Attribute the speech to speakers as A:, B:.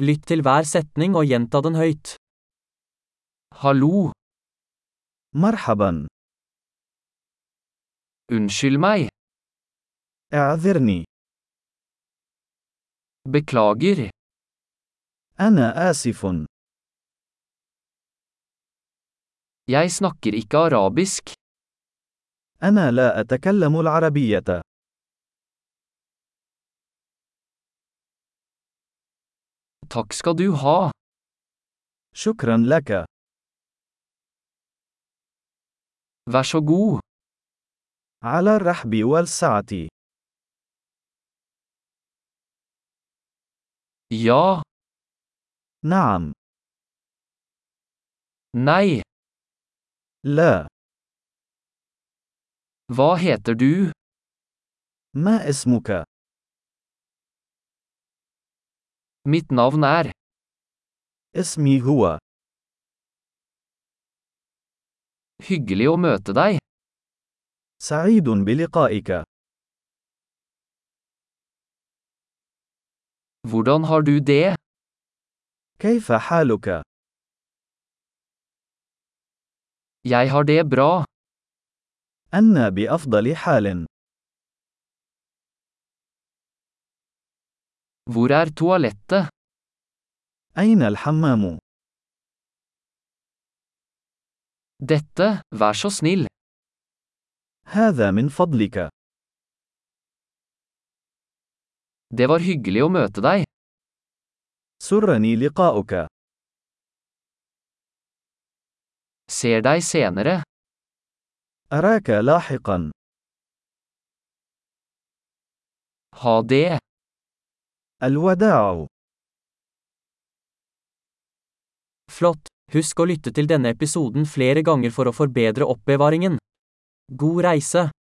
A: Lytt til hver setning og gjenta den høyt. Hallo,
B: مرحبا
A: unnskyld meg,
B: اعذرني
A: beklager,
B: انا اسف
A: jeg snakker ikke arabisk,
B: انا لا اتكلم العربيه
A: takk skal du ha,
B: شكرا لك
A: vær så god,
B: على الرحب والسعه
A: ja,
B: نعم
A: nei,
B: لا
A: hva heter du,
B: ما اسمك
A: mitt navn er,
B: اسمي هو
A: hyggelig å møte deg,
B: سعيد بلقائك
A: hvordan har du det,
B: كيف حالك
A: jeg har det bra,
B: انا بافضل حال
A: hvor er toalettet,
B: اين الحمام
A: dette, vær så snill,
B: هذا من فضلك
A: det var hyggelig å møte deg,
B: سرني لقاؤك
A: ser deg senere,
B: اراك لاحقا
A: ha det,
B: الوداع
A: flott, husk å lytte til denne episoden flere ganger for å forbedre oppbevaringen. God reise!